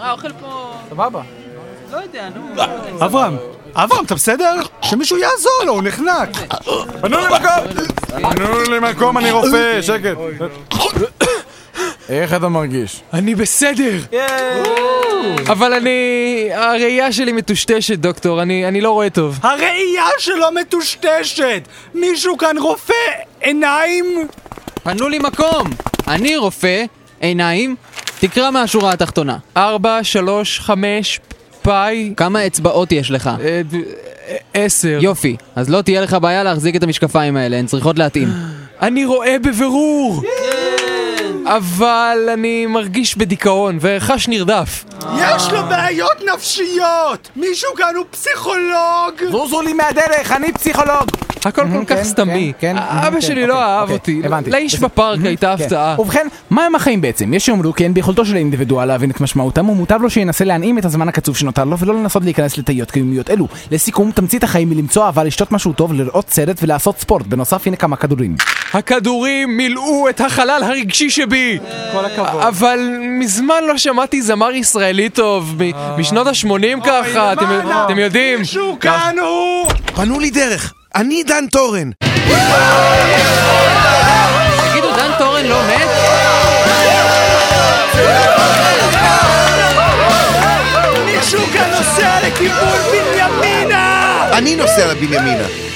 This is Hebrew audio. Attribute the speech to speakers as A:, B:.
A: האוכל פה,
B: סבבה.
A: לא יודע, נו.
C: אברהם, אברהם, אתה בסדר? שמישהו יעזור לו, הוא נחנק.
D: פנו למקום! פנו למקום, אני רופא, שקט.
B: איך אתה מרגיש?
E: אני בסדר! אבל אני... הראייה שלי מטושטשת, דוקטור, אני אני לא רואה טוב.
C: הראייה שלו מטושטשת! מישהו כאן רופא עיניים?
E: פנו לי מקום! אני רופא, עיניים, תקרא מהשורה התחתונה. ארבע, שלוש, חמש, פאי... כמה אצבעות יש לך?
B: אה, ד- אה, עשר.
E: יופי, אז לא תהיה לך בעיה להחזיק את המשקפיים האלה, הן צריכות להתאים.
B: אני רואה בבירור! אבל אני מרגיש בדיכאון וחש נרדף.
C: יש לו בעיות נפשיות! מישהו כאן הוא פסיכולוג!
F: זוזו לי מהדרך, אני פסיכולוג!
B: הכל כל כך
F: כן,
B: סתמי.
F: כן, כן,
B: אבא
F: כן,
B: שלי
F: אוקיי,
B: לא אהב
F: אוקיי,
B: אותי.
F: הבנתי.
B: לאיש
F: בסדר.
B: בפארק הייתה הפתעה.
F: כן. ובכן, מה הם החיים בעצם? יש שיאמרו כי אין ביכולתו של האינדיבידואל להבין את משמעותם ומוטב לו שינסה להנעים את הזמן הקצוב שנותר לו ולא לנסות להיכנס לתאיות קיומיות אלו. לסיכום, תמצית החיים היא למצוא אהבה, לשתות משהו טוב, לראות סרט ולעשות ספורט. בנוסף, הנה כמה כדורים.
B: הכדורים מילאו את החלל הרגשי שבי! כל הכבוד. אבל מזמן לא שמעתי זמר ישראלי טוב, מ- משנות ה-80 ככה, אתם- אתם יודעים.
C: מישהו כאן הוא...
G: פנו לי דרך, אני דן תורן.
E: תגידו, דן תורן לא מת?
C: מישהו כאן נוסע לכיוון בנימינה!
G: אני נוסע לבנימינה.